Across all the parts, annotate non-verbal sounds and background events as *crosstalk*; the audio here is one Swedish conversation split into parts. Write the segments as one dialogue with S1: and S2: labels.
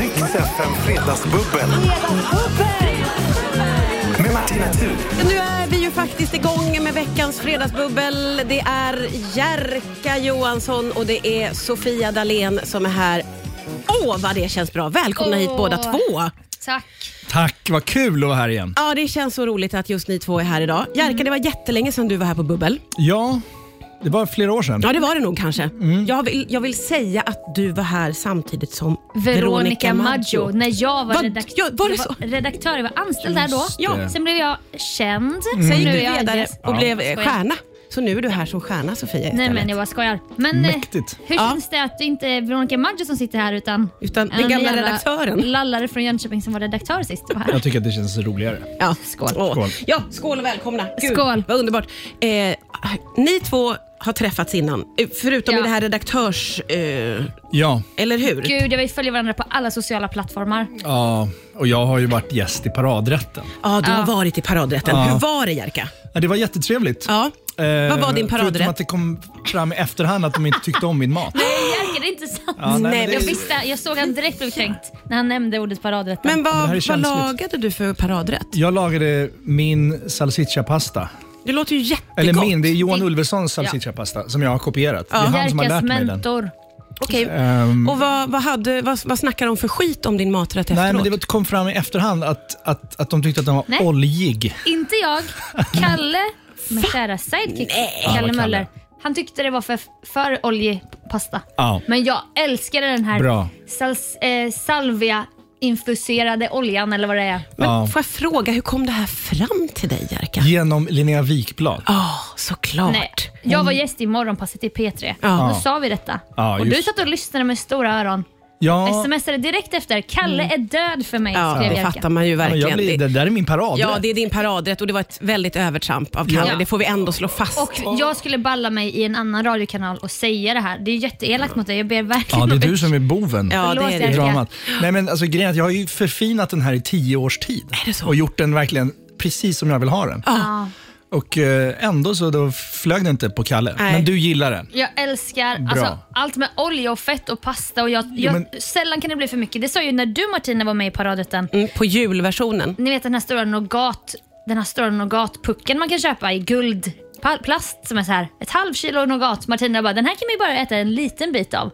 S1: Riks FM Fredagsbubbel med Martina Thun.
S2: Nu är vi ju faktiskt igång med veckans fredagsbubbel. Det är Jerka Johansson och det är Sofia Dalén som är här. Åh, vad det känns bra. Välkomna hit
S3: Åh.
S2: båda två.
S3: Tack.
S4: Tack, vad kul att vara här igen.
S2: Ja, det känns så roligt att just ni två är här idag. Jerka, det var jättelänge sedan du var här på bubbel.
S4: Ja, det var flera år sedan.
S2: Ja, det var det nog kanske. Jag, vill, jag vill säga att du var här samtidigt som
S3: Veronica Maggio, när jag var,
S2: Vad?
S3: redakt-
S2: Ja, var det
S3: jag
S2: så?
S3: redaktör. Jag var anställd där då.
S4: Ja. det.
S3: Sen blev jag känd.
S2: Mm. Sen gick
S3: Nu
S2: du
S3: är jag
S2: vidare
S3: gäst.
S2: och
S4: Ja.
S2: blev eh,
S3: Skojar.
S2: stjärna. Så nu är du här som stjärna Sofia
S3: Nej
S2: istället.
S3: men jag bara skojar. Men eh,
S4: Mäktigt.
S3: hur
S2: Ja.
S3: känns det att det inte är Veronica Maggio som sitter här utan,
S2: Utan den
S3: en
S2: gamla
S3: jävla
S2: redaktören.
S3: lallare från Jönköping som var redaktör sist jag var här.
S4: Jag tycker att det känns roligare.
S2: Ja, skål.
S4: Skål.
S2: Ja, skål och välkomna.
S3: Skål.
S2: Vad underbart. Eh, ni två har träffats innan, eh, förutom
S3: Ja.
S2: i det här redaktörs... Eh,
S4: Ja,
S2: eller hur?
S3: Gud, jag vill följa varandra på alla sociala plattformar.
S4: ja, och jag har ju varit gäst i paradrätten.
S2: Ja, du har varit i paradrätten.
S4: Ja.
S2: Hur var det Jerka?
S4: Ja, det var jättetrevligt.
S2: Ja.
S4: Eh,
S2: Vad var din
S4: Förutom att
S2: paradrätt?
S4: det kom fram i efterhand att de inte tyckte om
S2: *laughs*
S4: min mat.
S3: Jerker, det är inte sant.
S4: Ja,
S2: Nej,
S4: men det
S3: Jag
S4: är,
S3: visste, jag såg han direkt blev kränkt när han nämnde ordet paradrätten.
S2: Men
S4: det här
S2: vad,
S4: är
S2: vad
S4: känsligt.
S2: lagade du för paradrätt?
S4: jag lagade min salsicciapasta.
S2: Det låter ju jättegott.
S4: Eller min, det är Johan
S3: Det-
S4: Ulvessons salsicciapasta som jag har kopierat. Det är han som har
S3: Jerkas
S4: lärt mig den.
S3: mentor.
S2: Okej.
S4: Ehm,
S2: Och vad, vad, hade, vad, vad snackade de för skit om din maträtt efteråt?
S4: Nej, men det kom fram i efterhand att, att, att de tyckte att den var
S3: Nej.
S4: oljig.
S3: Inte jag. Kalle, min kära sidekick,
S4: Ja,
S3: Kalle
S4: Kalle.
S3: Möller. Han tyckte det var för, för oljepasta.
S4: Ja.
S3: Men jag älskade den här
S4: Bra.
S3: sals, eh, salvia-infuserade oljan eller vad det är.
S2: Men
S4: Ja.
S2: får jag fråga, hur kom det här fram till dig Jerka?
S4: Genom Linnea Wikblad.
S2: Ja, såklart.
S3: Nej, jag var gäst i Morgonpasset i P3.
S2: Mm. Ja.
S3: Då sa vi detta.
S4: Ja,
S3: och du
S4: just.
S3: satt och lyssnade med stora öron.
S4: Ja,
S3: Smsade direkt efter. Kalle är död för mig,
S2: Mm. Ja,
S3: skrev
S2: det
S3: Jerka.
S2: fattar man ju
S4: ja, men
S2: verkligen.
S4: jag blir, det där är min parad.
S2: Ja, det är din paradrätt och det var ett väldigt övertramp av Kalle.
S3: Ja.
S2: Det får vi ändå slå fast.
S3: Och jag skulle balla mig i en annan radiokanal och säga det här. Det är jätteelakt mot dig. Jag ber verkligen
S4: Ja, det
S3: om
S4: är du
S3: ursäkt.
S4: som är boven
S2: ja, det
S3: Förlåt,
S2: är
S4: i
S2: det.
S3: Jerka.
S4: dramat. Nej, men alltså, grejen är att jag har ju förfinat den här i tio års tid
S2: det så?
S4: och gjort den verkligen precis som jag vill ha den.
S3: Ja.
S4: Och eh, ändå så då flög den inte på Kalle.
S2: Nej.
S4: Men du gillar den.
S3: Jag älskar
S4: Bra.
S3: alltså, allt med olja och fett och pasta. Och jag, jag,
S4: men-
S3: Sällan kan det bli för mycket. Det sa ju när du Martina var med i paradrätten.
S2: Mm, på julversionen.
S3: Ni vet den här stora nougat, den här stora nougatpucken man kan köpa i guld pa- plast som är så här ett halv kilo nougat. Martina bara, den här kan man ju bara äta en liten bit av.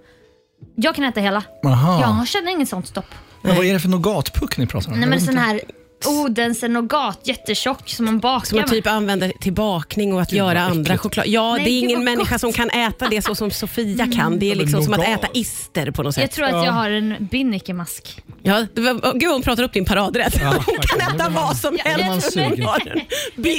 S3: Jag kan äta hela.
S4: Aha.
S3: Jag känner ingen sånt stopp.
S4: Men vad är det för nougatpuck ni pratar om?
S3: Nej men
S4: Jag vet
S3: sån
S4: inte.
S3: här Odense Oh, nougat, jättetjock som man bakar
S2: Som man
S3: med.
S2: typ använder till bakning och att
S4: vad
S2: göra andra
S4: äckligt.
S2: choklad. Ja,
S3: Nej,
S2: det är
S3: gud,
S2: ingen
S3: vad
S2: människa
S3: gott.
S2: som
S3: Mm.
S2: kan äta det så som Sofia kan. Det är
S4: men
S2: liksom som att
S4: nougat.
S2: äta ister på något
S3: Jag
S2: sätt.
S3: tror att jag har en binnikemask.
S2: Ja, det var, åh, gud, hon pratar upp din paradrätt.
S4: Ja,
S2: hon kan
S4: verkligen.
S2: äta vad som
S3: Ja, det var
S2: helst.
S4: man sugen.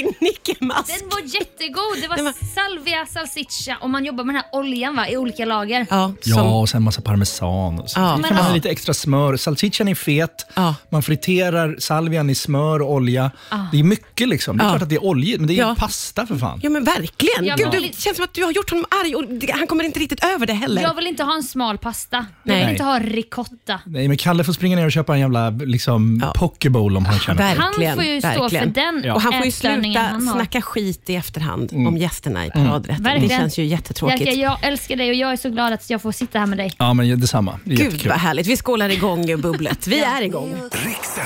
S2: Binnikemask.
S3: Den var jättegod. Det var
S2: Den var-
S3: salvia, salsiccia och man jobbar med den här oljan va, i olika lager.
S2: Ja, som,
S4: Ja, och sen massa parmesan. Och så.
S2: Ja.
S4: så
S3: Men
S4: kan man ha
S3: ja.
S4: lite extra smör. Salsiccian är fet.
S2: Ja.
S4: Man friterar salvian i smör och olja. Det är mycket liksom. Det är
S2: Ja.
S4: klart att det är oljigt, men det är ju
S2: Ja.
S4: pasta för fan.
S2: ja men verkligen.
S3: Ja,
S2: Gud,
S3: men-
S2: du, det känns som att du har gjort honom arg och det- han kommer inte riktigt över det heller.
S3: Jag vill inte ha en smal pasta.
S2: Nej.
S3: Jag vill inte ha ricotta.
S4: Nej, men Kalle får springa ner och köpa en jävla liksom,
S2: Ja.
S4: pokebowl om han känner för det.
S2: Verkligen,
S3: han får ju stå
S2: verkligen.
S3: för den
S4: Ja. Mm.
S2: Och han får ju
S3: ätstörningen
S2: sluta
S3: han har.
S2: snacka skit i efterhand om gästerna i paradrätten. Det
S3: Verkligen.
S2: känns ju jättetråkigt.
S3: Jerka, jag älskar dig och jag är så glad att jag får sitta här med dig.
S4: Ja, men detsamma. Det är
S2: Gud
S4: jättekul.
S2: vad härligt. Vi skålar igång bubblet.
S3: *laughs*
S2: Vi är igång.
S1: Riks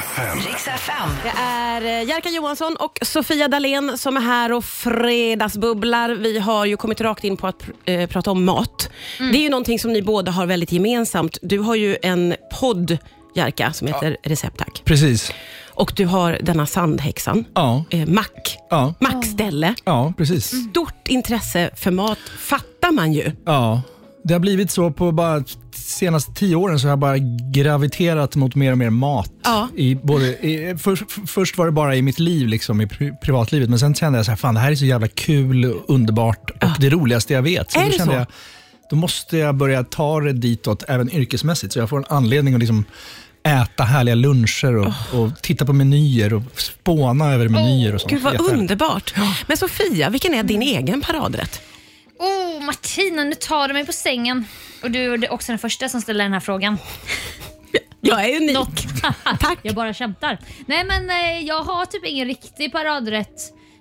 S1: FM
S2: Det är eh, Jerka Johansson och Sofia Dalén som är här och fredagsbubblar. Vi har ju kommit rakt in på att pr- eh, prata om mat.
S3: Mm.
S2: Det är ju någonting som ni båda har väldigt gemensamt. Du har ju en podd Jerka, som heter Recept Tack.
S4: Precis.
S2: Och du har denna sandhäxan,
S4: Ja,
S2: eh, mack,
S4: ja,
S2: mackställe.
S4: ja precis.
S2: Mm. Stort intresse för mat fattar man ju.
S4: Ja. Det har blivit så på bara senaste tio åren så har jag bara graviterat mot mer och mer mat.
S2: Ja.
S4: I både, i, först- först var det bara i mitt liv, liksom, i pri- privatlivet, men sen kände jag så här, fan det här är så jävla kul, och underbart och det roligaste jag vet. Så
S2: Är
S4: då
S2: det
S4: kände
S2: så?
S4: Jag, då måste jag börja ta det ditåt även yrkesmässigt så jag får en anledning att liksom äta härliga luncher och, och titta på menyer och spåna över menyer och sånt.
S2: Gud vad
S4: Jättehärligt.
S2: underbart. Men Sofia, vilken är din egen paradrätt?
S3: Oh, Martina, nu tar du mig på sängen. Och du är också den första som ställer den här frågan.
S2: Jag är unik.
S3: Dock.
S2: Tack.
S3: Jag bara skämtar. Nej men eh, jag har typ ingen riktig paradrätt.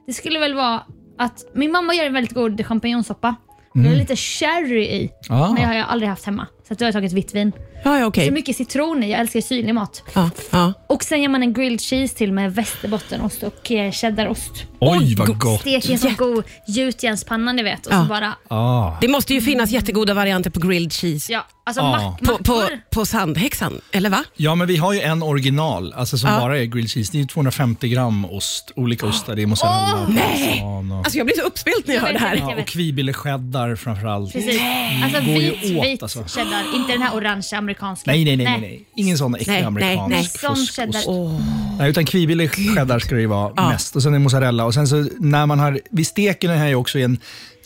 S3: Det skulle väl vara att min mamma gör en väldigt god
S2: Mm.
S3: champinjonsoppa. Det är lite sherry i.
S4: Ah.
S3: Men det har jag aldrig haft hemma. Så att då har jag tagit vitt vin.
S2: Ja, ja okej.
S3: Så mycket citron i. Jag älskar syrlig mat.
S2: Ja, ja.
S3: Och sen gör man en grilled cheese till med västerbottenost och eh, cheddarost.
S4: Oj, vad gott.
S3: Stek i en sån god gjutjärnspanna ni vet. Och
S2: Ja.
S3: så bara,
S4: Ah.
S2: Det måste ju finnas jättegoda varianter på grilled cheese.
S3: ja, alltså
S4: Ja.
S3: mack-
S2: På, på,
S3: mackor.
S2: på Sandhäxan, eller va?
S4: Ja, men vi har ju en original, alltså som
S2: Ja. Ah.
S4: bara är grilled cheese. Det är ju 250 gram ost, olika ostar. Det är mozzarella, och
S2: nej!
S4: parmesan och,
S2: Alltså jag blir så uppspelt när jag hör det här.
S3: Jag
S4: ja,
S3: vet.
S4: och kvibillecheddar framförallt.
S3: Precis. Alltså
S4: går ju
S3: vit,
S4: åt,
S3: vit
S4: alltså.
S3: cheddar. Inte den här orange amerikanska.
S4: Nej, nej, nej, nej, nej. Ingen sån äcklig
S2: Nej, nej,
S4: amerikansk
S2: nej.
S3: Sån cheddar.
S4: fuskost. Nej, utan kvibille cheddar ska det ju vara
S2: Ja.
S4: mest. Och sen är det mozzarella. Och sen så när man har, vi steker den här ju också i en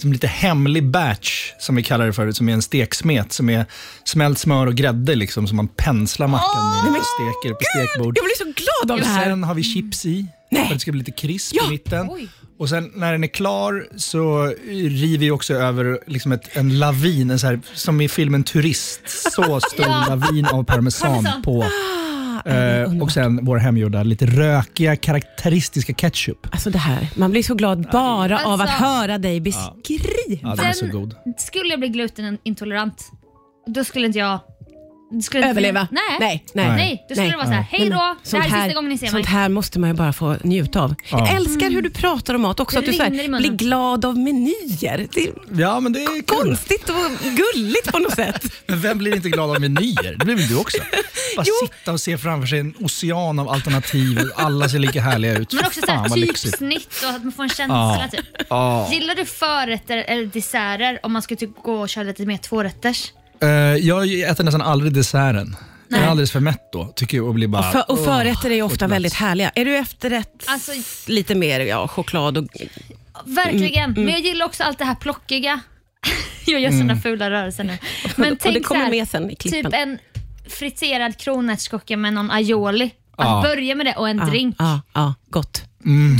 S4: som lite hemlig batch, som vi kallar det förut, som är en steksmet som är smält smör och grädde liksom, som man penslar mackan med och steker på stekbord.
S2: Jag blir så glad av det
S4: Och
S2: här.
S4: sen har vi chips i,
S2: Nej.
S4: för att det ska bli lite krisp
S2: Ja.
S4: i mitten.
S3: Oj.
S4: Och sen när den är klar så river vi också över liksom ett, en lavin, en så här, som i filmen Turist,
S3: *laughs*
S4: så stor lavin av parmesan
S3: Parmesan. Ah,
S4: på. Eh, och sen vår hemgjorda, lite rökiga, karaktäristiska ketchup.
S2: Alltså det här, man blir så glad bara av att
S3: Alltså-
S2: höra dig beskriva.
S4: Ja, den är så god.
S3: Skulle jag bli glutenintolerant, då skulle inte jag... då Skulle inte-
S2: Överleva?
S3: Nej.
S2: Nej,
S3: Nej.
S2: nej.
S3: nej. Då skulle
S2: Nej.
S3: det vara så här, hej
S2: Nej, men
S3: då, det
S2: sånt
S3: här är sista gången ni ser mig.
S2: Sånt här måste man ju bara få njuta av. Jag älskar hur du pratar om mat också.
S3: Det
S2: Att du så här,
S3: rinner i munnen.
S2: blir glad av menyer. Det är
S4: Ja, men det är kul.
S2: konstigt och gulligt på något sätt.
S4: Men vem blir inte glad av menyer? Det blir väl du
S3: *laughs*
S4: också? Bara
S2: Jo.
S4: sitta och se framför sig en ocean av alternativ och alla ser lika härliga ut.
S3: Men också så
S4: Fan
S3: här, typ
S4: vad lyxigt.
S3: typsnitt och att man får en
S4: Ja.
S3: känsla. Typ.
S4: Ja.
S3: Gillar du förrätter eller desserter om man ska typ gå och köra lite mer tvårätters?
S4: Eh, jag äter nästan aldrig desserten. Jag är
S3: Nej.
S4: alldeles för mätt då. Tycker jag, och blir bara,
S2: För, och
S4: åh,
S2: förrätter är ju
S4: och
S2: ofta
S4: glass.
S2: väldigt härliga. Är du efterrätt
S3: Alltså-
S2: lite mer ja, choklad och...
S3: Verkligen,
S2: Mm,
S3: men jag gillar också allt det här plockiga. *laughs* jag gör såna fula
S2: *laughs*
S3: rörelser nu.
S2: Mm. och
S3: Men
S2: det
S3: tänk
S2: kommer
S3: så här,
S2: med sen i klippen.
S3: Typ en friterad kronärtskocka med någon aioli. Att
S4: Ja.
S3: börja med det och en drink.
S2: Ja, Mm. ja, ja, gott.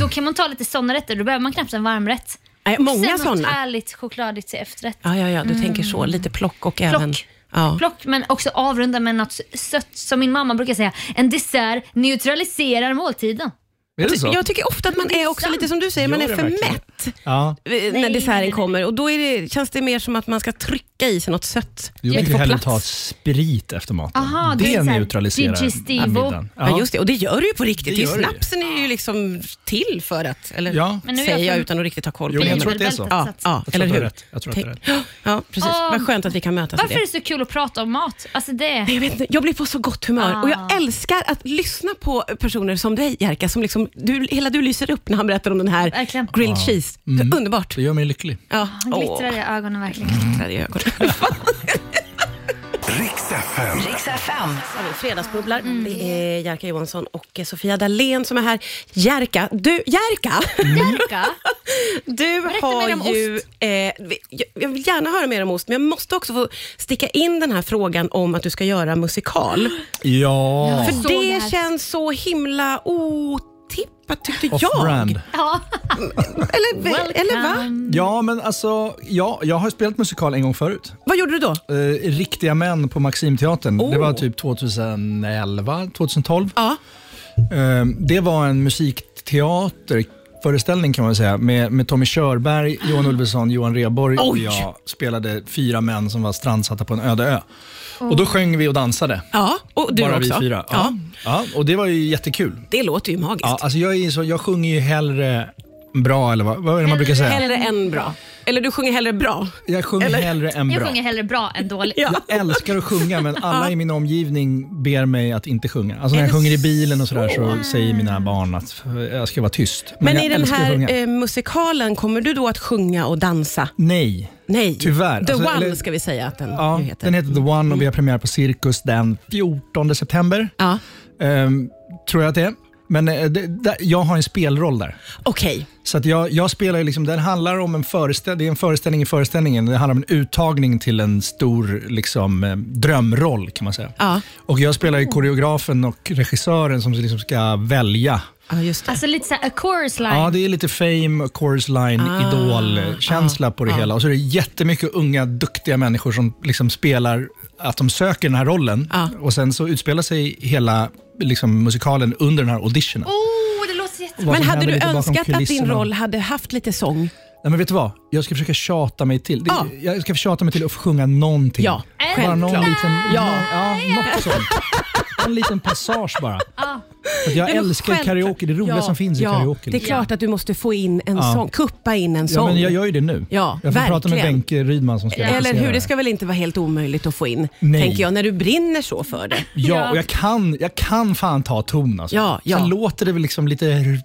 S3: Då kan man ta lite såna rätter, då behöver man knappt en varmrätt.
S2: Nej, många
S3: Sen något
S2: sådana.
S3: härligt chokladigt till efterrätt.
S2: Ja, ja, ja, du tänker så. Lite plock och även...
S3: Plock.
S2: Ja.
S3: Plock, men också avrunda med något sött. Som min mamma brukar säga, en dessert neutraliserar måltiden.
S4: Är det så?
S2: Alltså, Jag tycker ofta att man är också
S3: sant.
S2: lite som du säger, man
S4: Gör
S2: är
S4: det
S2: för
S4: verkligen?
S2: mätt eh,
S4: ja.
S2: när
S3: nej,
S2: desserten
S3: nej.
S2: kommer och då är det, känns det mer som att man ska trycka i sig något sött.
S4: Jag
S2: för att
S4: vill
S2: få
S4: hellre
S2: plats.
S4: ta sprit efter maten.
S3: Aha, det
S4: det
S3: är så här
S4: neutraliserar
S3: digestivo.
S4: middagen.
S2: Ja. just det. Och det gör du ju på riktigt.
S4: Det
S2: Det är ju
S4: gör det ju.
S2: snapsen är ju liksom till för att, eller
S4: Ja.
S3: Men nu är jag
S2: säger jag,
S3: från-
S2: utan att riktigt ha koll
S4: Jo,
S2: på
S4: men jag
S2: det.
S4: tror att det är så.
S2: Ja, ja
S4: Jag tror
S2: eller
S4: att du har
S2: hur?
S4: rätt. Jag tror att du har
S2: Tänk- Ja, precis. Vad
S3: Åh,
S2: skönt att vi kan mötas i
S3: Varför är
S2: Alltså, det.
S3: det så kul att prata om mat? Alltså det...
S2: Nej, Jag, vet inte, jag blir på så gott humör och
S3: Ah.
S2: jag älskar att lyssna på personer som dig Jerka, som liksom, du, hela du lyser upp när han berättar om den här
S3: Verkligen.
S2: grilled cheese. Underbart.
S4: Det gör mig lycklig.
S2: Ja.
S3: Han glittrar i
S2: *laughs*
S3: ögonen verkligen.
S2: glittrar i ögonen.
S1: Riks FM.
S5: Riks FM.
S2: har vi Fredagsbubblar.
S3: Mm.
S2: Det är Jerka Johansson och eh, Sofia Dalén som är här. Jerka, du, Jerka,
S3: Jerka?
S2: *laughs* du har
S3: mer om
S2: ju...
S3: ost.
S2: Eh, vi- jag- jag vill gärna höra mer om ost, men jag måste också få sticka in den här frågan om att du ska göra
S3: *gasps*
S2: musikal.
S4: Ja,
S2: För
S3: såg
S2: det
S3: det här.
S2: känns så himla otippat, tyckte jag.
S4: off-brand.
S3: Ja.
S2: Eller, eller va?
S3: Welcome.
S4: Ja, men alltså, ja, jag har spelat musikal en gång förut.
S2: Vad gjorde du då?
S4: Eh, Riktiga män på Maximteatern.
S2: Oh.
S4: Det var typ 2011, 2012.
S2: Ja.
S4: Eh, Det var en musikteaterföreställning kan man säga med, med Tommy Körberg, Johan Ulveson, Johan Rheborg och
S2: Oj.
S4: jag spelade fyra män som var strandsatta på en öde ö. Och då sjöng vi och dansade.
S2: Ja, och du
S4: Bara
S2: också.
S4: vi fyra.
S2: Ja.
S4: Ja. Ja, och det var ju jättekul.
S2: Det låter ju magiskt.
S4: Ja, alltså jag, är ju så, jag sjunger ju hellre bra, eller vad, vad är det man brukar säga?
S2: Hellre än bra. Eller du sjunger hellre bra.
S4: Jag sjunger hellre än
S3: Jag
S4: bra.
S3: sjunger hellre bra än dåligt.
S2: Ja.
S4: Jag älskar att sjunga, men alla i min omgivning ber mig att inte sjunga. Alltså när jag
S2: Är det
S4: sjunger i bilen och sådär så säger mina barn att jag ska vara tyst. Men,
S2: Men
S4: jag
S2: i den
S4: älskar att sjunga.
S2: här eh, musikalen, kommer du då att sjunga och dansa?
S4: Nej.
S2: Nej,
S4: Tyvärr.
S2: The
S4: Alltså,
S2: One
S4: eller-
S2: ska vi säga att den
S4: Ja,
S2: nu heter.
S4: den heter The One och vi har premiär på Cirkus den 14 september.
S2: Ja,
S4: Ehm, tror jag att det är. Men eh, det, där- jag har en spelroll där.
S2: okej.
S4: Så att jag, jag spelar ju liksom, den handlar om en föreställning, det är en föreställning i föreställningen. Det handlar om en uttagning till en stor liksom, eh, drömroll kan man säga.
S2: Ja.
S4: Och jag spelar ju koreografen och regissören som liksom ska välja.
S2: Ja, just det.
S3: Alltså lite såhär a chorus line.
S4: Ja, det är lite Fame, Chorus Line,
S2: Ah,
S4: Idol-känsla på det hela. Och så är det jättemycket unga, duktiga människor som liksom spelar, att de söker den här rollen.
S2: Ja.
S4: Och sen så utspelar sig hela liksom, musikalen under den här auditionen.
S3: Oh, det låter jättebra.
S4: Vad
S2: Men
S4: som
S2: hade
S4: händer
S2: du
S4: lite bakom
S2: önskat att din
S4: kulisserna.
S2: roll hade haft lite sång?
S4: Nej, men vet du vad? Jag ska försöka tjata mig till. Det,
S2: Ja.
S4: Jag ska tjata mig till att sjunga någonting.
S2: Ah. Ja,
S4: bara någon
S2: självklart.
S4: liten,
S2: Ja.
S4: någon, ja, något sånt. En liten passage bara. För att jag
S2: Ah. Nej, men
S4: älskar ju
S2: självklart.
S4: karaoke, det roliga
S2: Ja,
S4: som finns i
S2: ja,
S4: karaoke.
S2: Det är
S4: liksom.
S2: klart att du måste få in en sång, kuppa in en
S4: Ja,
S2: sång.
S4: men jag gör ju det nu.
S2: Ja,
S4: jag får prata med
S2: verkligen.
S4: Benke Rydman som ska
S2: Eller
S4: regissera
S2: hur? Det ska väl inte vara helt omöjligt att få in,
S4: Nej.
S2: tänker jag, när du brinner så för
S4: *laughs*
S2: det.
S4: Ja, och jag kan, jag kan fan ta ton alltså.
S2: Ja, ja.
S4: Sen låter det väl liksom lite r-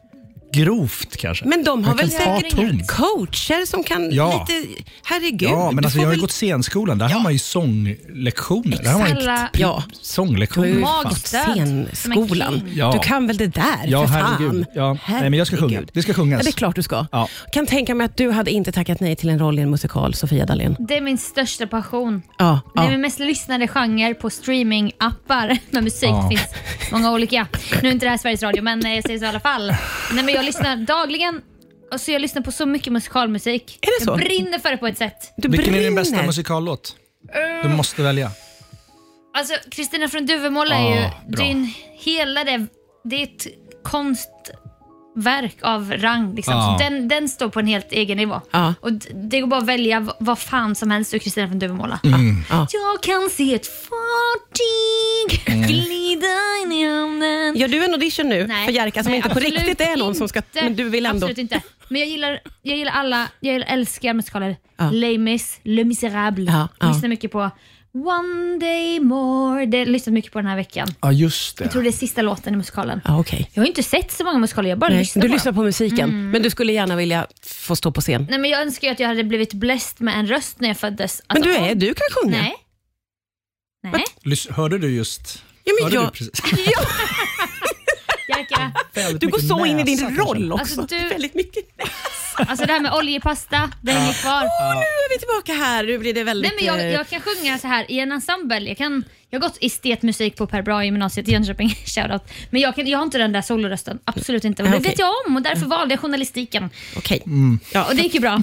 S4: grovt kanske.
S2: Men de har
S4: Jag
S2: väl
S4: kan ta
S2: säkert
S4: ton.
S2: coacher som kan
S4: Ja.
S2: lite... Herregud.
S4: Ja, men
S2: du
S4: alltså,
S2: får
S4: jag har ju
S2: väl-
S4: gått scenskolan. Där har man ju sånglektioner. Där har man ju
S3: Exakt.
S4: p-
S2: Ja.
S4: sånglektioner.
S2: Du har
S4: fan.
S2: ju gått
S3: Magstöd. Som en
S2: scenskolan.
S3: king.
S4: Ja.
S2: Du kan väl det där,
S4: Ja,
S2: för
S4: herregud.
S2: fan.
S4: Ja. Nej, men jag ska sjunga.
S2: Herregud.
S4: Det ska sjungas.
S2: Ja, det är klart du ska.
S4: Ja.
S2: Kan tänka mig att du hade inte tackat nej till en roll i en musikal, Sofia Dalén.
S3: Det är min största passion.
S2: Ja,
S3: Det är
S2: ja.
S3: min mest lyssnade genre på streamingappar *laughs* med musik.
S4: Ja.
S3: Det finns många olika. Nu är inte det här Sveriges Radio, men eh, jag säger så i alla fall. Nej, men jag lyssnar dagligen. Och så jag lyssnar på så mycket musikalmusik.
S2: Är det så?
S3: Jag brinner för det på ett sätt.
S2: Du
S4: Vilken är din
S2: brinner.
S4: bästa musikallåt? Du måste välja.
S3: Alltså Kristina från Duvemåla är
S4: Ah,
S3: ju
S4: bra.
S3: det är en, hela det, det är ett konstverk av rang. Liksom.
S4: Ah.
S3: Så den, den står på en helt egen nivå.
S2: Ja.
S3: Och d- det går bara att välja v- vad fan som helst ur Kristina från Duvemåla.
S2: ja.
S3: Jag kan se ett fartyg glida in i hamnen.
S2: Gör du en audition nu
S3: Nej,
S2: för Jerka som
S3: nej,
S2: inte på
S3: absolut
S2: riktigt är någon som ska...
S3: inte.
S2: Men du vill ändå...
S3: Absolut inte. Men jag gillar, jag gillar alla, jag gillar, älskar musikaler.
S2: Ja.
S3: Les Mis, Le Miserable.
S2: Ja, ja.
S3: Jag lyssnar mycket på One Day More. Det har jag lyssnat mycket på den här veckan.
S4: Ja, just
S3: Jag tror det är sista låten i musikalen.
S2: Ja, okej.
S3: Jag har inte sett så många musikaler, jag bara Mm.
S2: Nej,
S3: lyssnar
S2: Du
S3: på
S2: lyssnar
S3: dem.
S2: på musiken, men du skulle gärna vilja få stå på scen.
S3: Nej, men jag önskar ju att jag hade blivit blessed med en röst när jag föddes.
S2: Men
S3: Alltså,
S2: du
S3: om-
S2: är, du kan sjunga.
S3: Nej. Nej,
S4: Lys- hörde du just...
S2: Ja, men
S4: hörde
S2: jag-
S4: du precis? *laughs*
S3: Jerka.
S4: Väldigt
S2: Du går
S4: mycket
S2: så in i din
S4: näsa, kanske.
S2: roll också.
S3: Alltså, du-
S2: Väldigt mycket.
S3: Alltså det här med oljepasta, det hänger kvar.
S2: Åh, nu är vi tillbaka här. Nu blir det väldigt...
S3: Nej, men jag,
S2: eh,
S3: jag kan sjunga så här i en ensemble. Jag, kan, jag har gått estetmusik på Per Bra gymnasiet i Jönköping. *laughs* Shoutout. Men jag, kan, jag har inte den där solorösten. Absolut inte. Och
S2: Nej,
S3: det
S2: okej. Mm.
S3: vet jag om och därför valde jag journalistiken.
S2: Okej.
S4: Mm.
S3: Och det gick ju
S2: *laughs*
S3: bra.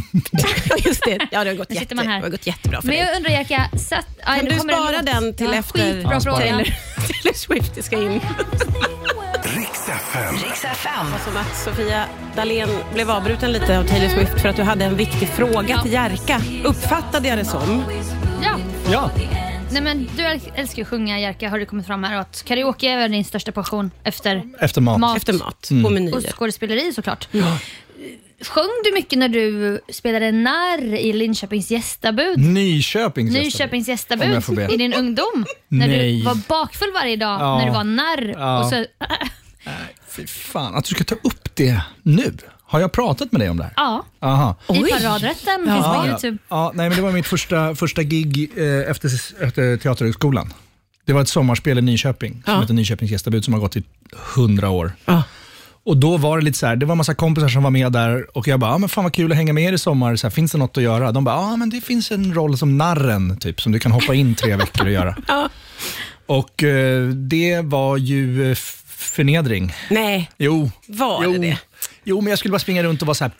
S2: Ja, just det. Ja, det har gått,
S3: Nu
S2: jätte,
S3: sitter man här.
S2: det har gått jättebra för
S3: Men
S2: dig.
S3: jag undrar Jerka, satt, aj,
S2: Kan
S3: nu
S2: du
S3: kommer en
S2: spara
S3: låt.
S2: den till
S3: ja,
S2: efter
S3: Skitbra
S2: *laughs*
S4: Ja, spara
S3: fråga.
S4: den.
S2: Taylor, Taylor Swift ska in.
S1: Riks FM.
S5: Riks FM.
S2: Som att Alltså, Sofia Dalén blev avbruten lite av Taylor Swift för att du hade en viktig fråga till Jerka. Uppfattade jag det som.
S3: Ja.
S4: Ja,
S3: Nej, men du älskar ju att sjunga Jerka, har du kommit fram här. och Att karaoke är väl din största passion efter
S4: efter mat.
S3: mat.
S2: Efter mat,
S4: Mm.
S2: på
S3: Och
S2: menyer.
S3: skådespeleri såklart. Sjöng du mycket när du spelade narr i Linköpings gästabud?
S4: Nyköpings gästar.
S3: Nyköpings
S4: Mm. Om
S3: gästabud
S4: jag får be.
S3: i din ungdom. När
S4: Nej.
S3: du var bakfull varje dag
S4: Ja.
S3: när du var narr.
S4: Ja.
S3: Och så,
S4: Fy fan, att du ska ta upp det nu. Har jag pratat med dig om det här?
S3: ja,
S4: Aha.
S3: i
S2: Oj.
S3: paradrätten
S2: Ja.
S3: finns på
S4: Ja,
S3: Youtube.
S4: ja, nej, men det var mitt första, första gig eh, efter, efter Teaterhögskolan. Det var ett sommarspel i Nyköping som
S2: Ja.
S4: heter Nyköpings gästabud som har gått i hundra år.
S2: Ja.
S4: Och då var det lite så här, det var en massa kompisar som var med där och jag bara, ah, men fan vad kul att hänga med er i sommar, så här, finns det något att göra? De bara, ja ah, men det finns en roll som narren, typ, som du kan hoppa in tre veckor och göra.
S2: *laughs* Ja.
S4: Och eh, det var ju eh, f- förnedring.
S2: Nej,
S4: Jo.
S2: Var
S4: jo.
S2: det det?
S4: Jo, men jag skulle bara springa runt och vara så här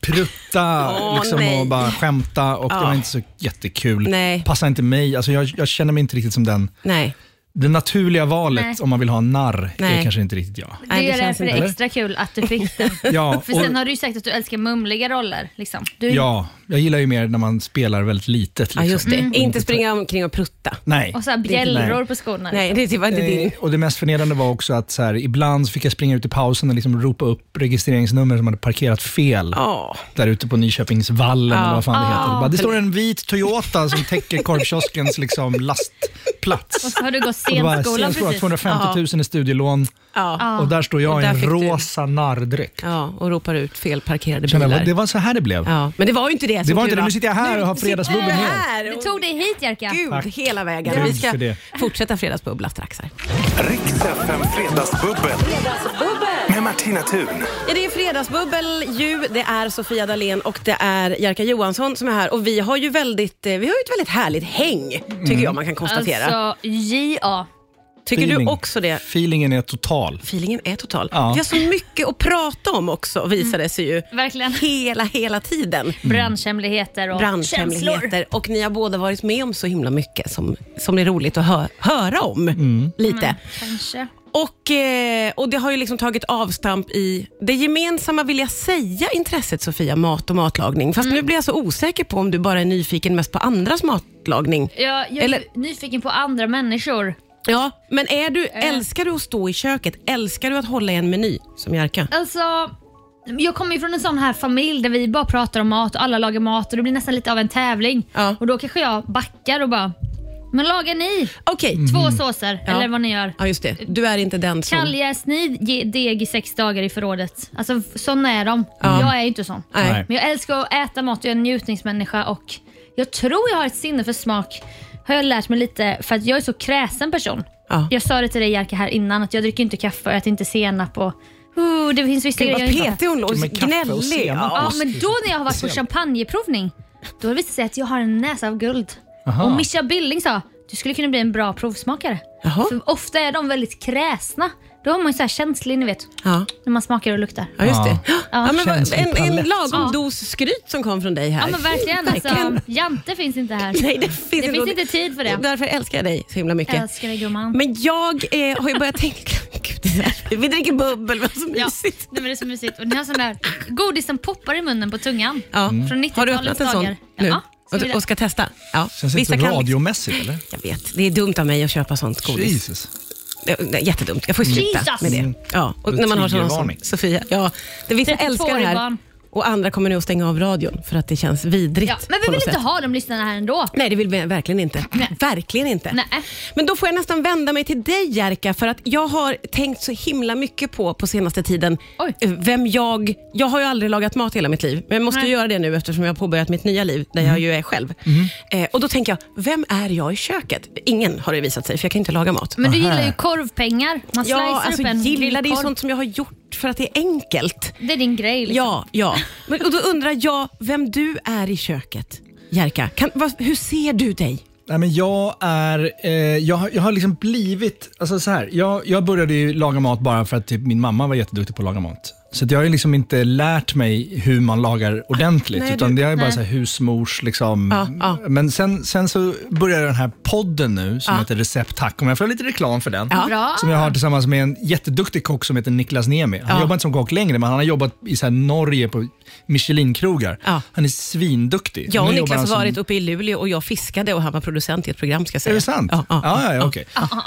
S4: prutta
S2: Åh,
S4: liksom,
S2: nej.
S4: och bara skämta och det var inte så jättekul.
S2: Nej.
S4: Passar inte mig. Alltså, jag, jag känner mig inte riktigt som den.
S2: nej.
S4: Det naturliga valet
S3: Nej.
S4: om man vill ha en narr är
S2: Nej.
S4: kanske inte riktigt jag.
S3: Det
S2: Nej,
S3: är
S2: känns
S3: därför det
S2: inte.
S3: är extra kul att du fick den.
S4: Ja,
S3: För sen
S4: och-
S3: har du ju sagt att du älskar mumliga roller. Liksom. Du,
S4: Ja, jag gillar ju mer när man spelar väldigt litet.
S2: Ja,
S4: liksom.
S2: just det.
S3: Mm.
S2: Inte springa omkring och prutta.
S4: Nej.
S3: Och så här
S4: Nej.
S3: bjällror på skorna.
S2: Nej, det var inte din.
S4: Eh, Och det mest förnedrande var också att så här, ibland så fick jag springa ut i pausen och liksom ropa upp registreringsnummer som hade parkerat fel.
S2: Ja.
S4: där ute på Nyköpingsvallen eller vad fan det heter.
S3: Ah.
S4: Det bara, Det står en vit Toyota som täcker
S2: *laughs*
S4: korvkioskens liksom
S3: Och
S4: lastplats.
S3: så har du gått
S4: Och det var
S3: scenskolan
S4: senskola,
S3: precis.
S4: 250 000 i studielån
S2: Ja.
S4: och där står jag
S2: Ah. Och
S4: i
S2: där
S4: en
S2: fick du-
S4: rosa narrdräkt.
S2: ja, och ropar ut felparkerade
S4: Kände
S2: bilar.
S4: jag, Det var så här det blev.
S2: Ja, men det var ju inte det.
S4: Det var inte det. Nu sitter jag här och har fredagsbubbel
S2: med.
S4: med.
S2: Här
S3: Du
S2: och
S3: tog dig hit Jerka.
S2: Gud,
S4: Tack.
S2: hela vägen.
S4: Gud
S2: Vi
S4: för
S2: ska
S4: det.
S2: fortsätta fredagsbubbla strax. Här.
S1: Riks FM Fredagsbubbel. Med Martina Thun.
S2: Ja, det är fredagsbubbel ju. Det är Sofia Dalén och det är Jerka Johansson som är här. Och vi har ju väldigt, eh, vi har ju ett väldigt härligt häng, tycker
S4: Mm.
S2: jag man kan konstatera.
S3: Alltså, ja.
S2: tycker
S4: Feeling.
S2: du också det?
S4: Feelingen är total.
S2: Feelingen är total.
S4: Ja.
S2: Vi har så mycket att prata om också, visar det sig ju.
S3: Mm. Verkligen.
S2: Hela, hela tiden.
S3: Branschhemligheter och känslor.
S2: Branschhemligheter. Och ni har båda varit
S4: Mm.
S3: Mm.
S2: med om så himla mycket som, som det är roligt att hö höra om. Lite.
S3: Kanske.
S2: Och, eh, och det har ju liksom tagit avstamp i det gemensamma, vill jag säga, intresset Sofia, mat och matlagning.
S3: Mm.
S2: Fast nu blir jag så osäker på om du bara är nyfiken mest på andras matlagning.
S3: Jag, jag är
S2: Eller-
S3: nyfiken på andra människor.
S2: Ja, men är du,
S3: Eh.
S2: älskar du att stå i köket? Älskar du att hålla i en meny som Jerka?
S3: Alltså, jag kommer ju från en sån här familj där vi bara pratar om mat och alla lagar mat och det blir nästan lite av en tävling.
S2: Ja.
S3: Och då kanske jag backar och bara, men lagar ni
S2: Okej.
S4: Mm.
S3: två såser
S2: Ja.
S3: eller vad ni gör?
S2: Ja, just det. Du är inte den som...
S3: Kalljäst ni ge- deg i sex dagar i förrådet? Alltså f- sådana är de. Jag är ju inte sån.
S2: Nej.
S4: Nej.
S3: Men jag älskar att äta mat, jag är en njutningsmänniska och jag tror jag har ett sinne för smak. Har jag lärt mig lite, för att jag är så kräsen person.
S2: Ja.
S3: Jag sa det till dig Jerka här innan, att jag dricker inte kaffe och äter inte senap och uh, det finns vissa
S2: Gud
S3: grejer
S2: vad
S3: jag inte
S2: petig hon låter.
S4: Men kaffe och
S2: Gnällig.
S4: senap.
S2: Ja.
S3: Ja, men då när jag har varit på
S4: Sen.
S3: champagneprovning, då har det visat sig att jag har en näsa av guld.
S4: Aha.
S3: Och Mischa Billing sa, du skulle kunna bli en bra provsmakare.
S2: Jaha.
S3: För ofta är de väldigt kräsna. Då har man ju så här känslig, ni vet,
S2: Ja.
S3: när man smakar och luktar.
S2: ja, just det. Ja.
S4: Ja.
S2: men vad-
S4: Känslig
S2: en, en
S4: palett.
S2: lagom
S3: Ja.
S2: dos skryt som kom från dig här.
S3: Ja men verkligen.
S2: Verkligen.
S3: Alltså, Jante finns inte här.
S2: *laughs* Nej, det finns,
S3: Det finns inte tid för det.
S2: Därför älskar jag dig så himla mycket.
S3: Jag älskar dig gumman.
S2: Men jag eh, har ju börjat tänka... *laughs* Gud, det här- vi dricker bubbel, vad så
S3: Ja,
S2: mysigt.
S3: nej, men det är så mysigt. Och ni har sån där godis som poppar i munnen på tungan.
S2: Ja.
S4: Mm.
S3: Från 90-talets
S2: Mm. Har du öppnat en sån
S3: dagar.
S2: nu?
S3: Ja. Ska vi-
S2: och, och ska testa? Ja.
S4: Känns inte
S2: kan liksom-
S4: radiomässigt eller?
S2: Jag vet, det är dumt av mig att köpa sånt godis.
S4: Jesus.
S2: Det- det är Jättedumt. Jag får ju sluta
S3: Jesus!
S2: med det.
S4: Mm.
S2: Ja, och när man har sådana som
S4: Triggervarning.
S2: Sofia. Ja, det vissa
S3: 32
S2: älskar det
S3: år i
S2: här
S3: barn.
S2: och andra kommer nu att stänga av radion för att det känns vidrigt.
S3: Ja, men vi
S2: på
S3: vill
S2: något
S3: inte
S2: sätt.
S3: ha de lyssnarna här ändå.
S2: Nej, det vill vi verkligen inte. Verkligen inte.
S3: Nej.
S2: Men då får jag nästan vända mig till dig Jerka, för att jag har tänkt så himla mycket på på senaste tiden
S3: Oj.
S2: eh, vem jag... Jag har ju aldrig lagat mat hela mitt liv, men jag måste ju
S3: Nej. Mhm.
S2: göra det nu eftersom jag har påbörjat mitt nya liv där jag ju är själv. Eh, och Då tänker jag, vem är jag i köket? Ingen har det visat sig, för jag kan inte laga mat.
S3: Men du
S4: Aha.
S3: gillar ju korvpengar.
S2: Ja,
S3: Man slicear
S2: alltså
S3: upp en
S2: gilla det är ju
S3: grillkorv.
S2: sånt som jag har gjort för att det är enkelt.
S3: Det är din grej. Liksom.
S2: Ja, ja. Men, och då undrar jag vem du är i köket, Jerka. Kan, vad, hur ser du dig?
S4: Nej, men jag, är, eh, jag, har- jag har liksom blivit... Alltså så här, jag, jag började ju laga mat bara för att typ, min mamma var jätteduktig på att laga mat. Så att jag har ju liksom inte lärt mig hur man lagar ordentligt,
S2: Nej, du-
S4: utan det är ju bara
S3: nej.
S4: så här husmors... Liksom.
S2: Ja, ja.
S4: Men sen, sen så börjar den här podden nu som
S2: Ja.
S4: heter Recept Hack, om jag får lite reklam för den.
S2: Ja.
S3: Bra.
S4: Som jag har tillsammans med en jätteduktig kock som heter Niklas Niemi. Han
S2: Ja.
S4: jobbar inte som kock längre, men han har jobbat i så här Norge på Michelinkrogar.
S2: Ja.
S4: Han är svinduktig.
S2: Jag och
S4: Nu jobbar han
S2: Niklas
S4: som-
S2: har varit uppe i Luleå och jag fiskade och han var producent i ett program. Ska jag säga.
S4: Är det sant?
S2: Ja, ja.
S4: ja, ja, okej.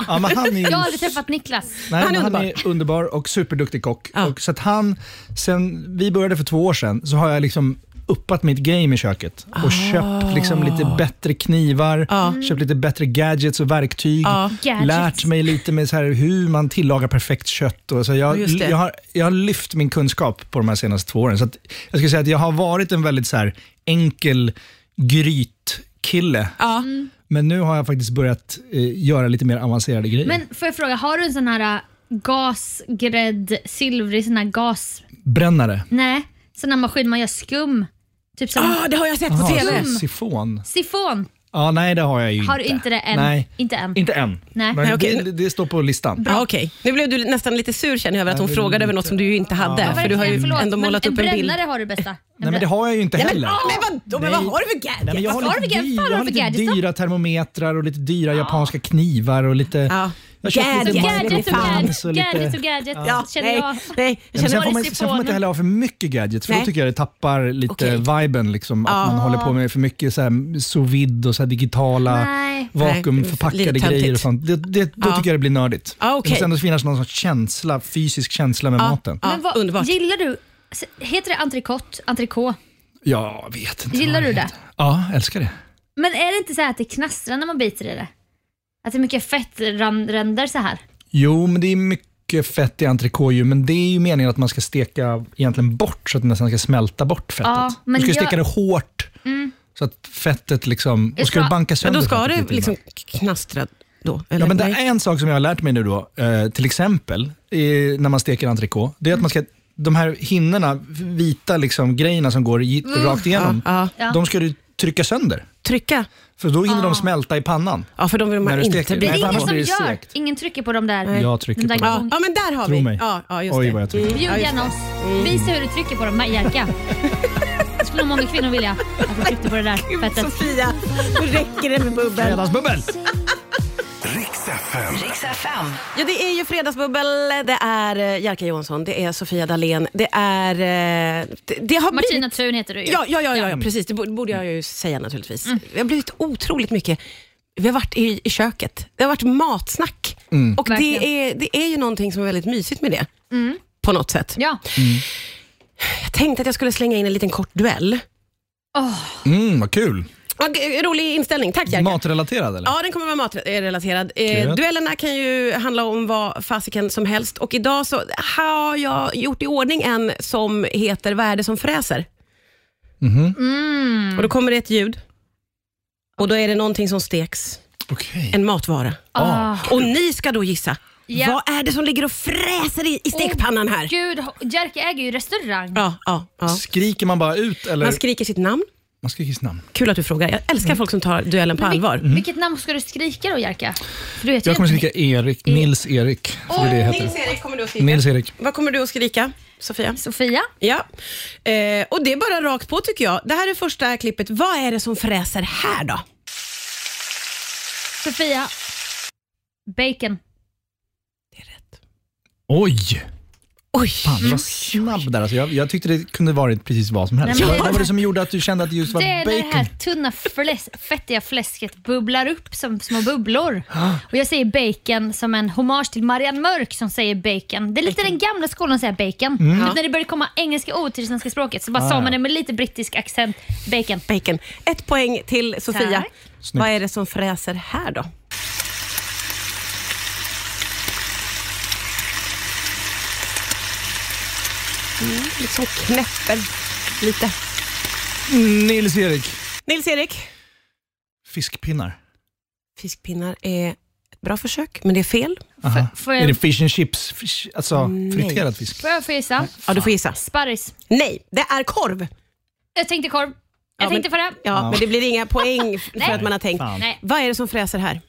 S4: Ja, men han är,
S3: Jag har aldrig träffat Niklas.
S4: nej,
S2: han är
S4: men han
S2: underbar.
S4: är underbar och superduktig kock.
S2: Ja.
S4: Och så att han, sen vi började för två år sedan så har jag liksom uppat mitt game i köket och
S2: Ah.
S4: köpt liksom lite bättre knivar, Mm. köpt lite bättre gadgets och verktyg.
S3: Gadgets.
S4: Lärt mig lite med så här hur man tillagar perfekt kött. Och så
S2: Ja,
S4: jag,
S2: just det.
S4: jag, har, jag har lyft min kunskap på de här senaste två åren. Så att jag skulle säga att jag har varit en väldigt så här enkel grytkille.
S2: Ja.
S3: Mm.
S4: Men nu har jag faktiskt börjat eh, göra lite mer avancerade grejer.
S3: Men får jag fråga, har du en sån här ä, gasgrädd, silvrig sån här gas...
S4: Brännare.
S3: Nej, sån här maskin man gör skum. Typ som
S2: Ah, det har jag sett på TV.
S4: så sifon.
S3: sifon.
S4: Ja, nej det har jag ju
S3: Har du inte det än?
S4: Nej,
S3: Inte än.
S4: inte än.
S3: Nej.
S4: Men
S2: Nej, okej.
S4: det, det står på listan.
S2: Ja, okej. Nu blev du nästan lite sur känner jag över att hon
S4: det är
S2: frågade över
S4: lite-
S2: något som du ju inte hade. för
S4: Ja,
S2: du har ju
S3: Verkligen, förlåt,
S2: ändå
S3: men
S2: målat upp en bild.
S3: brännare har du bästa.
S4: Nej, men det har jag ju inte
S2: Nej, men,
S4: heller.
S2: ah, men, vad, men vad har du för gadget?
S4: Nej, men jag har
S3: Vad har
S4: lite,
S3: du för-
S4: dyr,
S3: fan, vad
S4: jag
S3: har
S4: har
S3: du
S4: lite
S3: för gadgets då?
S4: dyra termometrar och lite dyra japanska knivar och lite...
S2: Ja.
S4: Jag köpte
S2: Gadget.
S4: lite
S3: Gadget och gadget,
S4: marknans och lite...
S3: gadget och gadget.
S2: Ja,
S3: Känner
S2: nej,
S3: jag.
S2: nej,
S4: Ja,
S2: jag
S4: men
S2: känner
S4: sen,
S2: bara
S4: får man,
S2: lite-
S4: sen får man inte heller ha för mycket gadgets, för
S2: Nej.
S4: då tycker jag det tappar lite
S2: Okej. Ah.
S4: viben. Liksom, att man håller på med för mycket så här, sous vide och så här, digitala
S3: Nej.
S2: Nej,
S4: vakuumförpackade
S2: lite
S4: grejer.
S2: töntigt.
S4: Och sånt. Det, det, då
S2: Ja.
S4: tycker jag det blir nördigt.
S2: Ja, okej. Ah.
S4: Det måste ändå finnas någon sorts känsla, fysisk känsla med maten.
S2: Ja,
S3: Men vad,
S2: underbart.
S3: Gillar du, heter det entrecote, entrecote?
S4: Jag vet inte.
S3: Gillar
S4: vad
S3: du
S4: heter.
S3: det?
S4: Ja, älskar det.
S3: Men är det inte så här att det knastrar när man biter i det? Att det är mycket fettränder så här?
S4: Jo, men det är mycket fett i entrecote ju, men det är ju meningen att man ska steka egentligen bort så att det nästan ska smälta bort fettet.
S2: Ah,
S3: Ja, men
S4: du ska ju
S3: jag-
S4: steka det hårt så att fettet liksom... Och ska
S3: ska-
S4: du banka
S2: Men
S4: sönder
S2: då Mm. ska
S4: fettet
S2: det
S4: lite innan.
S2: liksom knastra då? Eller?
S4: Ja, men det
S2: Nej.
S4: är en sak som jag har lärt mig nu då, eh, till exempel eh, när man steker entrecote, det är att man ska de här hinnorna, vita liksom, grejerna som går i- rakt igenom,
S2: Mm. ja, Ah.
S3: ja.
S4: de ska du trycka sönder.
S2: Trycka?
S4: För då hinner de smälta i pannan.
S2: Ja, för de vill
S4: När
S2: man
S4: du
S2: inte
S4: steker.
S2: bita
S4: Nej,
S2: på.
S4: för annars
S3: Ingen
S4: blir
S3: som
S4: det
S3: gör,
S4: segt.
S3: ingen trycker på de där.
S4: Jag trycker
S3: de där
S4: på dem.
S2: Ja, ja, men där har
S4: Tro
S2: vi.
S4: mig.
S2: Ja, ja, just
S4: Oj,
S2: det.
S4: vad jag trycker.
S2: Mm, ja,
S3: Bjud
S2: just
S3: gärna
S2: det.
S3: oss. Visa hur du trycker på dem, Jerka. Det skulle nog många kvinnor vilja. Att du
S2: Mm.
S3: tryckte på det där fettet.
S2: Sofia, nu räcker det med bubbel.
S4: Fredagsbubbel!
S1: Riks FM.
S5: Riks FM.
S2: Ja, det är ju Fredagsbubbel, det är eh, Jerka Johansson, det är Sofia Dalén, det är... eh, Det, det har blivit...
S3: Martina Mm. Thun heter du ju.
S2: Ja, ja, ja, ja, ja, precis. Det borde borde jag ju säga naturligtvis.
S3: Mm.
S2: Det har blivit otroligt mycket. Vi har varit i, i köket. Det har varit matsnack. Och
S3: Verkligen. Mm.
S2: det är, det är ju någonting som är väldigt mysigt med det. På något sätt.
S3: Ja.
S2: Jag tänkte att jag skulle slänga in en liten kort duell.
S3: Åh,
S4: Mm, vad kul.
S2: Och, rolig inställning. Tack Jerka.
S4: Matrelaterad eller?
S2: Ja, den kommer vara matrelaterad. Eh,
S4: Kul.
S2: duellerna kan ju handla om vad fasiken som helst och idag så har jag gjort i ordning en som heter Vad är det som fräser?
S4: Mm-hmm.
S2: Och då kommer det ett ljud och då är det någonting som steks,
S4: Okej.
S2: en matvara.
S3: ah.
S2: Och ni ska då gissa,
S3: Ja.
S2: vad är det som ligger och fräser i, i stekpannan här?
S3: Gud, Jerker äger ju restaurang.
S2: Ja, ja, ja.
S4: Skriker man bara ut eller?
S2: Man skriker sitt namn.
S4: man skriker sitt namn.
S2: Kul att du frågar. Jag älskar
S4: Mm.
S2: folk som tar duellen på
S3: Men vil-
S2: allvar.
S3: Vilket namn ska du skrika då Jerka? För du vet ju
S4: Jag kommer
S3: inte.
S4: skrika Erik, Nils-Erik. Som det heter.
S2: Nils-Erik kommer du att skrika.
S4: Nils-Erik.
S2: Vad kommer du att skrika, Sofia?
S3: Sofia?
S2: Ja, eh, och det är bara rakt på tycker jag. Det här är första klippet. Vad är det som fräser här då?
S3: Sofia? Bacon.
S2: Det är rätt.
S4: Oj!
S2: Oj! Mm.
S4: Fan vad snabb där. Alltså, jag, jag tyckte det kunde varit precis vad som helst.
S3: Nej, men-
S4: vad, vad var det som gjorde att du kände att det just var
S3: Det är när
S4: bacon?
S3: det här tunna fläs fettiga fläsket bubblar upp som små
S4: *gasps*
S3: bubblor.
S4: Ah.
S3: Och jag säger bacon som en hommage till Marianne Mörk som säger bacon. Det är lite den gamla skolan som säger bacon.
S4: Mm.
S3: Men när det börjar komma engelska ord till det svenska språket så bara
S4: Ah.
S3: sa man det med lite brittisk accent. Bacon.
S2: Bacon. Ett poäng till Sofia.
S3: Tack.
S4: Snyggt.
S2: Vad är det som fräser här då? Mm, liksom knäpper lite.
S4: Nils-Erik.
S2: Nils-Erik?
S4: Fiskpinnar.
S2: Fiskpinnar är ett bra försök, men det är fel.
S4: Aha.
S3: Får
S4: Är det
S3: jag,
S4: fish and chips? Fish, alltså friterad fisk?
S3: får jag få gissa?
S2: Ja, du får gissa.
S3: Sparris.
S2: Nej, det är korv.
S3: Jag tänkte korv. Jag
S2: Ja,
S3: tänkte
S2: men-
S3: på det.
S2: Ja, men det blir inga poäng f- för
S3: Nej.
S2: att man har tänkt.
S4: Fan.
S3: Nej.
S2: Vad är det som fräser här?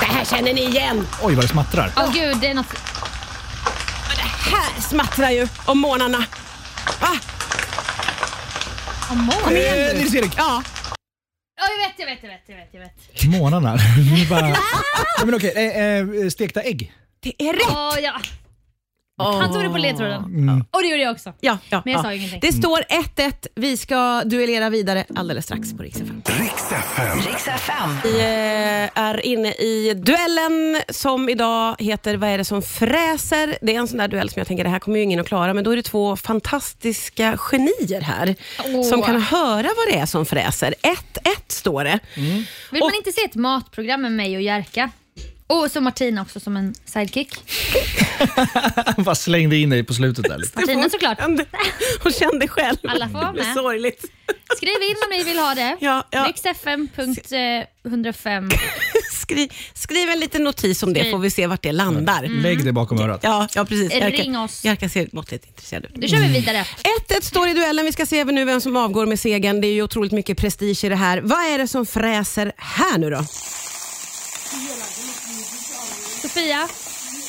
S2: Det här känner ni igen.
S4: Oj, vad det smattrar.
S3: Åh gud, det är något...
S2: Här smattrar ju om månaderna. Va?
S3: Amor.
S2: Kom igen
S4: Eh,
S2: nu.
S4: Nils-Erik.
S2: Ja.
S3: Ja, jag vet, jag vet, jag vet, jag vet. Jag vet.
S4: Månarna. *laughs* bara... Nej, men okej, eh, eh, stekta ägg. *laughs*
S2: Det är rätt.
S3: Åh, ja. Han tog det på ledtråden. Och det gjorde jag också.
S2: Ja, ja,
S3: Men jag
S2: ja.
S3: sa ingenting.
S2: Det står 1-1. Vi ska duellera vidare alldeles strax på Rix FM.
S1: Riks FM.
S5: Riks FM.
S2: Vi eh, är inne i duellen som idag heter Vad är det som fräser? Det är en sån där duell som jag tänker det här kommer ju ingen att klara, men då är det två fantastiska genier här
S3: Åh.
S2: som kan höra vad det är som fräser. 1-1 står det.
S3: Vill man inte se ett matprogram med mig och Jerka? Och så Martina också som en sidekick.
S4: Han bara slängde in dig på slutet där. lite.
S3: Martina såklart.
S2: Hon, hon kände själv.
S3: Alla får vara
S2: Det är
S3: med.
S2: sorgligt.
S3: Skriv in om ni vill ha det. eh,
S2: Ja, ja.
S3: Riksfm.105.
S2: Skri, skriv en liten notis om det,
S3: Skriv.
S2: får vi se vart det landar.
S3: Mm.
S4: Lägg det bakom örat.
S2: Ja, ja, precis.
S3: Ring
S2: Jerka,
S3: oss.
S2: Jerka ser måttligt intresserad ut.
S3: Nu kör vi vidare.
S2: 1-1 står i duellen. Vi ska se även nu vem som avgår med segern. Det är ju otroligt mycket prestige i det här. Vad är det som fräser här nu då?
S3: Sofia,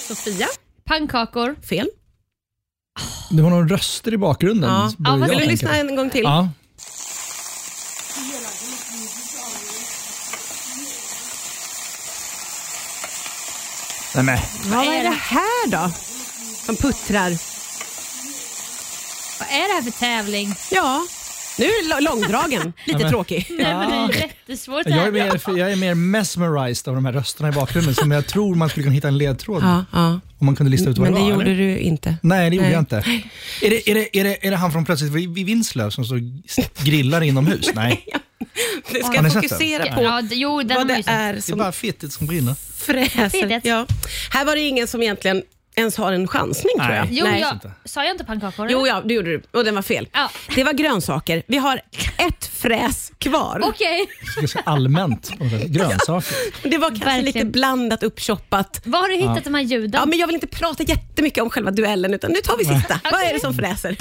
S2: Sofia?
S3: pannkakor.
S2: Fel.
S4: Det var några röster i bakgrunden.
S2: Ja.
S4: började
S3: Ja, vad
S2: Vill du
S4: jag tänka.
S2: lyssna en gång till?
S4: Ja. Nej, men.
S2: Vad är det här då? Som puttrar.
S3: Vad är det här för tävling?
S2: Ja, nu är det lo- långdragen. *laughs* Lite tråkig.
S3: Nej, men det är ju jättesvårt det
S4: Jag är,
S3: här.
S4: mer, jag är mer mesmerized av de här rösterna i bakgrunden som jag tror man skulle kunna hitta en ledtråd
S2: Ja, ja.
S4: om man kunde lista ut vad
S2: Men det
S4: var.
S2: gjorde
S4: eller?
S2: du inte.
S4: Nej, det gjorde
S2: Nej.
S4: jag inte. Är det, är, det, är, det, är det han från Plötsligt vid vid Vinslöv som står och grillar inomhus?
S2: *laughs*
S4: Nej,
S2: Du
S4: Har
S2: ska
S4: ni sett den?
S2: fokusera på
S3: Ja, d- jo, den
S2: vad
S3: var
S2: det
S3: ju så.
S2: är
S4: det är
S2: som
S4: bara fittigt som brinner.
S2: fräser.
S3: Fittigt.
S2: Ja. Här var det ingen som egentligen ens har en chansning tror
S4: Nej.
S2: jag.
S3: Jo,
S2: Nej.
S3: jag, sa jag inte pannkakor?
S2: Jo, ja, det gjorde du. Och den var fel.
S3: Mm. Ja.
S2: Det var grönsaker. Vi har ett fräs kvar.
S3: Okej,
S4: Det är så allmänt. på något sätt. Grönsaker.
S2: det var kanske
S3: Verkligen.
S2: lite blandat, uppchoppat.
S3: var har du hittat de här ljuden?
S2: Ja, men jag vill inte prata jättemycket om själva duellen, utan nu tar vi sista. Vad är det som fräser?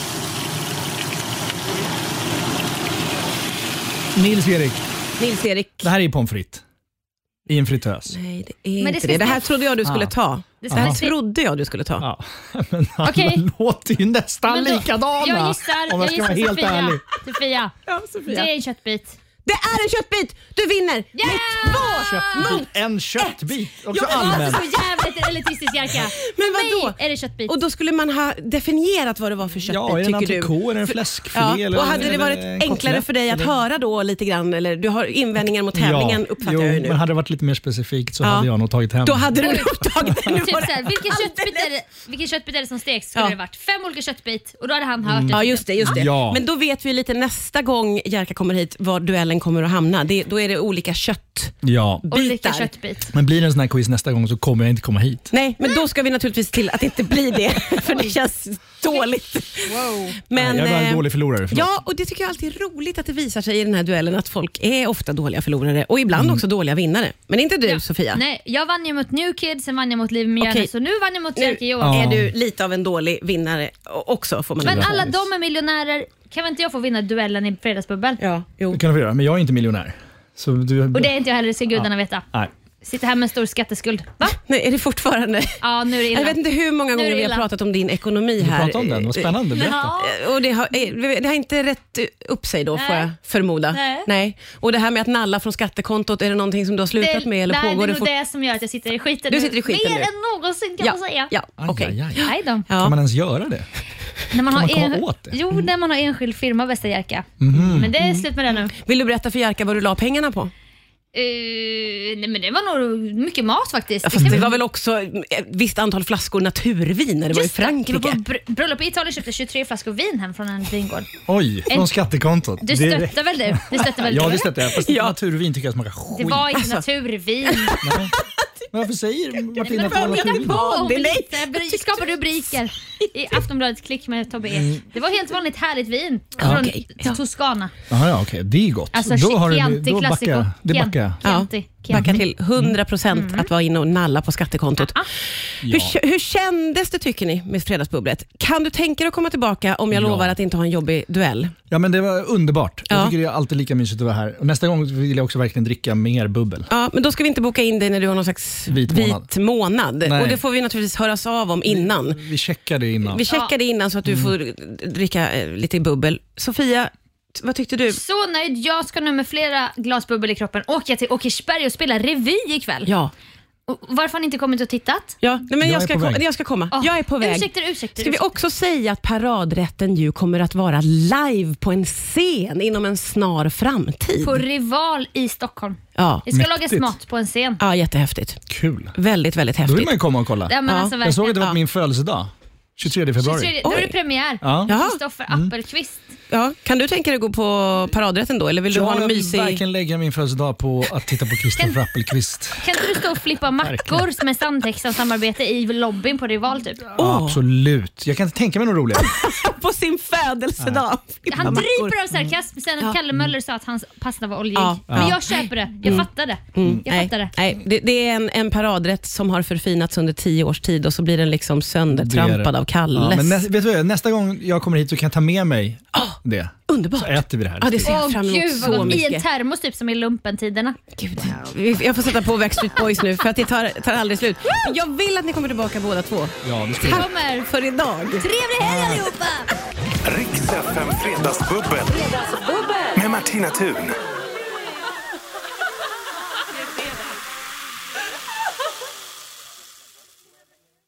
S4: Nils-Erik,
S2: Nils-Erik.
S4: det här är ju pommes frites. I en fritös.
S2: Nej, det är
S3: Men det
S2: inte det. Det
S3: ska-
S2: här trodde jag du skulle
S4: Ah.
S2: ta. Det
S3: ska
S2: här
S3: se-
S2: trodde jag du skulle ta.
S4: Ja, *laughs* men alla
S3: Okej.
S4: låter ju nästan
S3: Men då-
S4: likadana.
S3: Jag gissar,
S4: om jag
S3: jag
S4: ska
S3: gissar
S4: vara helt
S3: Sofia.
S4: ärlig.
S3: Sofia,
S2: Ja,
S3: det
S2: Sofia.
S3: är en köttbit.
S2: Det är en köttbit! Du vinner!
S3: Yeah!
S2: Med två mot
S4: Köttbit. En köttbit. Också
S2: Ja, men
S4: allmän.
S3: Alltså så jävligt elitistisk Jerka.
S2: *laughs* Men vadå?
S3: Nej, är det köttbit?
S2: Och då skulle man ha definierat vad det var för köttbit,
S4: Ja, är det en
S2: tycker du?
S4: entrecote, är det en fläskfilé
S2: Ja,
S4: eller-
S2: och hade det
S4: eller
S2: varit
S4: en eh,
S2: enklare
S4: kotlett
S2: för dig att
S4: eller-
S2: höra då lite grann, eller du har invändningar mot tävlingen uppfattar
S4: jo,
S2: jag ju nu.
S4: men hade det varit lite mer specifikt så
S2: Ja.
S4: hade jag nog tagit hem
S2: Då
S4: den.
S2: hade du nog *laughs* tagit den. Nu
S3: Typ
S2: var det
S3: såhär, vilken köttbit,
S2: alldeles-
S3: är det, vilken köttbit är det som steks? Skulle
S2: Ja. Mm.
S3: det varit. Fem olika köttbit och då hade han hört
S2: Ja,
S3: det.
S2: just det. Just det.
S4: Ja.
S2: Men då vet vi lite nästa gång Jerka kommer hit var duellen kommer att hamna. Det, då är det olika köttbitar.
S4: Ja.
S3: Olika köttbit.
S4: Men blir det en sån här quiz nästa gång så kommer jag inte komma hit.
S2: Nej, men då ska vi naturligtvis till att det inte blir det, *laughs* för det känns dåligt. Men,
S4: jag är bara en
S2: eh,
S4: dålig förlorare. förlåt.
S2: Ja, och det tycker jag alltid är roligt att det visar sig i den här duellen att folk är ofta dåliga förlorare och ibland
S4: Mm.
S2: också dåliga vinnare. Men inte du Sofia.
S3: Nej, jag vann ju mot New Kids, sen vann jag mot Liv Mjärne,
S2: Okej.
S3: så nu vann jag mot
S2: Nu
S3: Jerker Johansson.
S2: är
S4: Ja.
S2: du lite av en dålig vinnare o- också får man
S3: Men
S2: säga.
S3: alla de är miljonärer. Kan väl inte jag få vinna duellen i Fredagsbubbel?
S2: Ja, jo.
S4: Det kan du få göra, men jag är inte miljonär. Så du...
S3: Och det är inte jag heller, det ska gudarna veta.
S4: Nej.
S3: Sitter här med en stor skatteskuld. Va?
S2: *laughs* Nej, är det
S3: *laughs*
S2: fortfarande?
S3: Ja, nu är det illa.
S2: Jag vet inte hur många
S3: Nu är
S2: gånger
S3: det
S2: vi har
S3: illa.
S2: pratat om din ekonomi
S4: Vi
S2: här.
S4: pratar om den, vad spännande. Berätta.
S3: Ja.
S2: Eh, Och det, har, eh, det har inte rätt upp sig då, får
S3: Nej.
S2: jag förmoda.
S3: Nej.
S2: Och det här med att nalla från skattekontot, är det någonting som du har slutat med eller
S3: nej,
S2: pågår
S3: det
S2: det
S3: är nog det som gör att jag sitter i skiten
S2: Du
S3: nu.
S2: sitter i skiten
S3: Mer
S2: nu.
S3: än någonsin kan
S2: Ja,
S3: man säga.
S2: ja
S4: Aj,
S2: okej.
S4: aj, aj.
S3: Nej då.
S2: Ja.
S4: Kan man ens göra det?
S3: När man,
S4: Kan
S3: har
S4: man komma
S3: en...
S4: åt det? Mm. Mhm.
S3: Jo, när man har enskild firma, bästa Jerka. Men det är slut med det nu.
S2: Vill du berätta för Jerka vad du la pengarna på?
S3: Eh, nej, men det var nog mycket mat faktiskt.
S2: Ja,
S3: kan
S2: fast
S3: vi-
S2: det var väl också ett visst antal flaskor naturvin när det var i
S3: Just det,
S2: Frankrike.
S3: Det var på br- bröllop i Italien köpte 23 flaskor vin hem från en vingård.
S4: Oj, från skattekontot.
S3: Du
S4: Direkt.
S3: stöttar väl du? Du stöttar väl
S4: Ja,
S3: du?
S4: det stöttar jag. Fast
S2: Ja.
S4: naturvin tycker jag smakar skit.
S3: Det *laughs* var inte naturvin.
S2: *laughs*
S4: Men Varför säger Martina
S3: Men
S4: att det var
S3: vad hittar
S4: naturvin?
S3: på?
S2: Det är nej.
S3: Lite bry- Skapar rubriker i Aftonbladet Klick med Tobbe Ek. Det var helt vanligt härligt vin från
S2: okej. Mm. Ja.
S3: Toscana.
S4: Jaha, ja, okej. Det är gott.
S3: Alltså
S4: du,
S3: Chianti
S4: då backar jag.
S3: Classico.
S4: Det backar jag.
S2: Ja,
S3: Chianti.
S2: backar
S3: Chianti.
S2: till 100 procent
S3: Mm.
S2: att vara inne och nalla på skattekontot. Hur, k- hur kändes det tycker ni med Fredagsbubblet? Kan du tänka dig att komma tillbaka om jag
S4: Ja.
S2: lovar att inte ha en jobbig duell?
S4: Ja, men det var underbart.
S2: Ja.
S4: Jag tycker det är alltid lika mysigt att vara här. Och nästa gång vill jag också verkligen dricka mer bubbel.
S2: Ja, men då ska vi inte boka in dig när du har någon slags
S4: Vit månad.
S2: månad.
S4: Nej.
S2: Och det får vi naturligtvis höras av om innan.
S4: Vi checkar det innan.
S2: Vi checkar det innan så att du
S4: Mm.
S2: får dricka eh, lite bubbel. Sofia, t- vad tyckte du?
S3: Så nöjd. Jag ska nu med flera glas bubbel i kroppen åka till Åkersberga och spela revy ikväll.
S2: Ja,
S3: Och varför har ni inte kommit och tittat?
S2: ja. Nej, men jag,
S4: Jag är
S2: ska
S4: på
S2: kom,
S4: väg.
S2: jag ska komma.
S3: Ah,
S2: jag är på väg.
S3: Ursäkter, ursäkter.
S2: Ska vi
S3: ursäkter.
S2: också säga att paradrätten ju kommer att vara live på en scen inom en snar framtid?
S3: På Rival i Stockholm.
S2: Ja,
S3: Det ska
S4: Mäktigt.
S3: lagas mat på en scen.
S2: ja jättehäftigt.
S4: Kul.
S2: Väldigt, väldigt
S4: Då vill
S2: häftigt.
S4: man ju komma och kolla.
S3: Ja, men
S2: Ja.
S3: alltså,
S4: Jag såg att det var
S2: Ja.
S4: på min födelsedag. 23 februari.
S3: 23, då är det
S2: Oj.
S3: premiär.
S4: Ja. Mm.
S2: Jaha.
S3: Kristoffer Appelqvist.
S2: Ja, kan du tänka dig att gå på paradrätten då, eller vill du ha
S4: Jag
S2: någon
S4: vill
S2: mysig...
S4: verkligen lägga min födelsedag på att titta på Kristoffer Appelqvist.
S3: Kan inte du stå och flippa mackor med sandtext som samarbete i lobbyn på Rival typ?
S2: Åh,
S4: Absolut. Jag kan inte tänka mig något roligare.
S2: på sin födelsedag!
S3: Han dryper av sarkasm sen att Kalle Möller sa att hans pasta var oljig.
S2: Mm. Ja. Mm.
S3: Men jag köper det. Jag fattar det. Jag
S2: Nej,
S3: fattar det.
S2: nej, det, det är en, en paradrätt som har förfinats under tio års tid och så blir den liksom
S4: Det är
S2: söndertrampad
S4: det.
S2: av Kalles. Ah,
S4: Ja, men nä, vet du vad, nästa gång jag kommer hit så kan jag ta med mig det.
S2: Underbart!
S4: Så äter vi det här.
S2: Ja, det ser jag
S3: Åh
S2: fram emot
S3: gud vad
S2: så
S3: gott. I
S2: mycket.
S3: en termos typ som i lumpentiderna.
S2: Gud, vi- jag får sätta på Backstreet Boys nu för att det tar, tar aldrig slut. Men Jag vill att ni kommer tillbaka båda två.
S4: Ja, det ska vi.
S2: Tack
S3: Kommer.
S2: för idag.
S3: Trevlig helg allihopa!
S1: Riks FM Fredagsbubbel. Med Martina Thun.